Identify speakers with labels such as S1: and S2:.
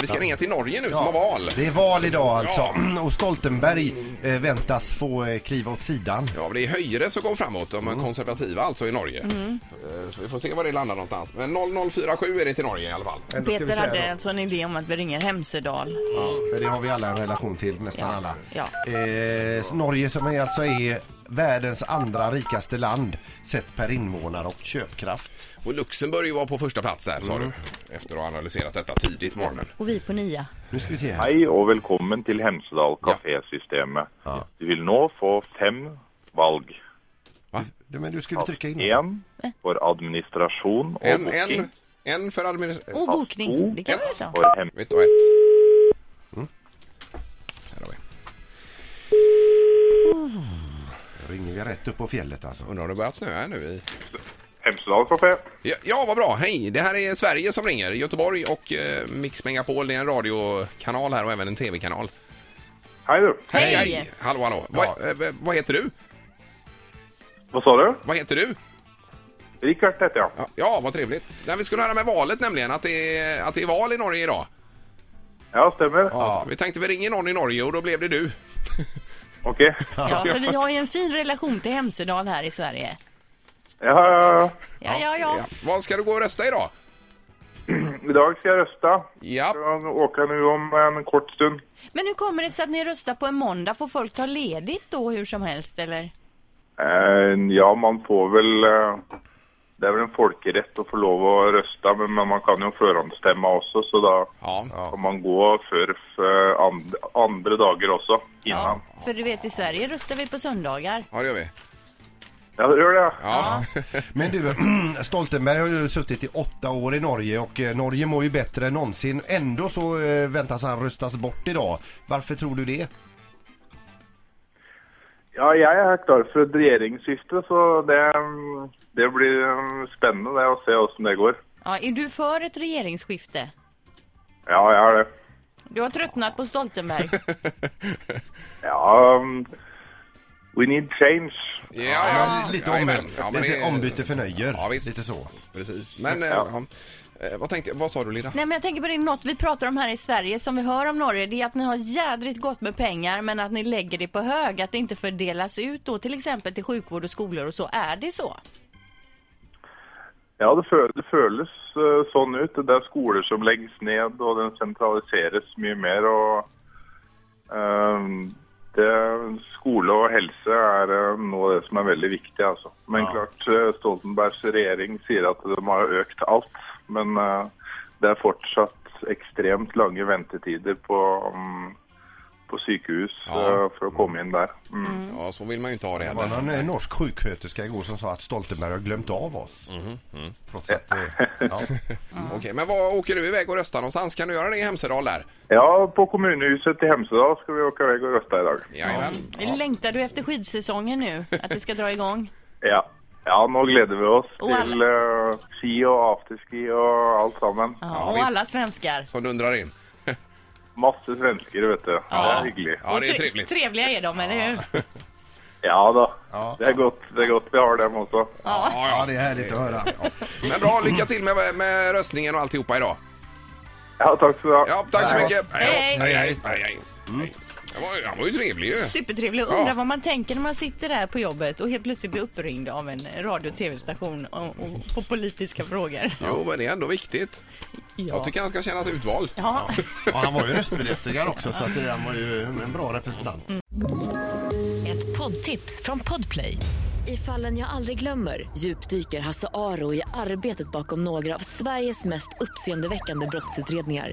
S1: vi ska ringa till Norge nu som har val.
S2: Det är val idag alltså och Stoltenberg eh, väntas få eh, kliva åt sidan.
S1: Ja, det är Höjre som går framåt, de konservativa alltså i Norge. Eh, Så vi får se var det landar någonstans. Men 0047 är det till Norge i alla fall.
S2: Ändå ska vi
S3: Peter
S2: säga
S3: hade
S2: då.
S3: alltså en idé om att vi ringer Hemsedal.
S2: För det har vi alla en relation till, nästan
S3: Ja.
S2: alla.
S3: Ja.
S2: Eh, Norge som är alltså är världens andra rikaste land sett per invånare och köpkraft.
S1: Och Luxemburg var på första plats där, sa du. Mm. Efter att ha analyserat detta tidigt på morgonen.
S3: Och vi på nia.
S2: Nu ska vi se här.
S4: Hei og velkommen til Hemsedal kafésystemet. Du vil nå få fem valg.
S2: Du, Men du skulle trycka in.
S4: En for administrasjon og
S1: En,
S4: booking.
S1: en, en för administration.
S3: Och
S2: Oh.
S3: bokning. Det kan vi ta.
S4: For hem
S1: Ett och ett. Mm. Här har vi.
S2: Då ringer vi rätt upp på fjället alltså.
S1: Undrar om det börjat snöa nu i...
S4: Hemsedal kafé.
S1: Ja, ja, vad bra. Hej! Det här är Sverige som ringer. Göteborg och eh, Mix Megapol. Det är en radiokanal här och även en tv-kanal.
S4: Hei, du.
S3: Hej!
S1: Hallå, hallå.
S2: Ja.
S1: Vad, eh, v- vad heter du?
S4: Hva sa du?
S1: Vad heter du?
S4: Rikard heter jeg.
S1: Ja, ja vad trevligt. Nej, vi skulle höra med valet nämligen, att det, är, att det är val i Norge idag.
S4: Ja, stemmer.
S1: Alltså, vi tänkte vi ringer någon i Norge och då blev det du.
S4: Ok. Ja,
S3: Ja, för vi har ju en fin relation till Hemsedal här i Sverige.
S4: ja, ja.
S3: Ja, ja, ja.
S1: Ja. Vad ska du gå och rösta idag?
S4: I dag skal jeg røste.
S1: Ja,
S4: Skal åke nå om en kort stund.
S3: Men hur kommer det sig att ni röstar på en måndag? Får folk ta ledigt då hur som helst eller?
S4: Eh, ja, man får vel eh, Det er vel en folkerett å få lov å røste, men men man kan jo forhåndsstemme også, så da
S1: ja.
S4: kan man gå før eh, and, andre dager også. Innan.
S3: För du vet i Sverige röstar vi på söndagar.
S1: ja det gör vi.
S4: Ja, det gjør det.
S1: Ja.
S2: Men du, Stoltenberg har ju suttit i åtta år i Norge och eh, Norge mår ju bättre än någonsin. Ändå så eh, väntas han röstas bort idag. Varför tror du det?
S4: Ja, jeg er klar for et regjeringsskifte, så det, mm, det blir mm, spennende det, å se åssen det går.
S3: Ja, är du för ett regeringsskifte?
S4: Ja, jeg er det.
S3: Du har tröttnat på Stoltenberg.
S4: Ja, mm, we need change.
S1: Ja, ja.
S2: Men lite,
S1: Ja,
S2: omby-
S1: jajamän. ja, men
S2: lite
S1: det-
S2: ombyte för nöjer.
S1: Ja, visst.
S2: Lite så.
S1: Precis. Men eh, ja. Eh, vad, tänkte, vad sa du Linda?
S3: Nej men jag tänker på det, något vi pratar om här i Sverige som vi hör om Norge, det är att ni har jädrigt gott med pengar men att ni lägger det på hög, att det inte fördelas ut då till exempel till sjukvård och skolor och så. Är det så?
S4: Ja, det, fø det føles eh, sånn ut. Det er skoler som legges ned, og den sentraliseres mye mer. og ehm, det, Skole og helse er eh, nå det som er veldig viktig. altså. Men klart, eh, Stoltenbergs regjering sier at de har økt alt. Men eh, det er fortsatt ekstremt lange ventetider på, mm, på sykehus
S1: Ja.
S4: eh, for å komme inn der. Mm.
S1: Ja, så vill man ju inte ha det
S2: Det var
S1: heller.
S2: någon eh, norsk sjuksköterska igår som sa att Stoltenberg har glömt av oss.
S1: Mhm,
S2: Trots att det... Ja.
S1: Okej, men vad åker du iväg och röstar någonstans? Kan du göra det i Hemsedal där?
S4: Ja, på kommunehuset i Hemsedal skal vi åke vei og røste i dag.
S1: Jajamän.
S3: Längtar du efter skidsäsongen nu? Att det ska dra igång?
S4: Ja. ja, nå gleder vi oss
S3: Og alle-
S4: til eh, ski og afterski og alt sammen.
S3: Ja,
S1: Ja,
S3: och
S1: visst.
S3: alla svenskar.
S1: Som dundrar in.
S4: Masse svensker, vet du. Det er hyggelig.
S1: Ja, det är
S3: Och tre-
S1: trevligt.
S3: Trevliga är de, eller hur?
S4: Ja da. Det er godt, det er godt vi har dem også.
S1: Ja,
S2: ja,
S1: ja.
S2: det är härligt att höra.
S1: Men bra, lycka till med, med röstningen och alltihopa idag.
S4: Ja, takk skal du ha.
S1: Ja, tack så mycket.
S3: Hej.
S1: hej, hej. hej, hej. Hej. Han var ju- Han var ju trevlig ju.
S3: Supertrevlig. Undrar
S1: Ja.
S3: vad man tänker när man sitter där på jobbet och helt plötsligt blir uppringd av en radio och tv-station och, och på politiska frågor.
S1: Jo, men det är ändå viktigt. Jag
S3: Ja.
S1: tycker han ska känna sig utvald.
S3: Ja.
S2: Och han var ju röstberättigad också så att det, han var ju en bra representant.
S5: Ett poddtips från Podplay. I fallen jag aldrig glömmer djupdyker Hasse Aro i arbetet bakom några av Sveriges mest uppseendeväckande brottsutredningar.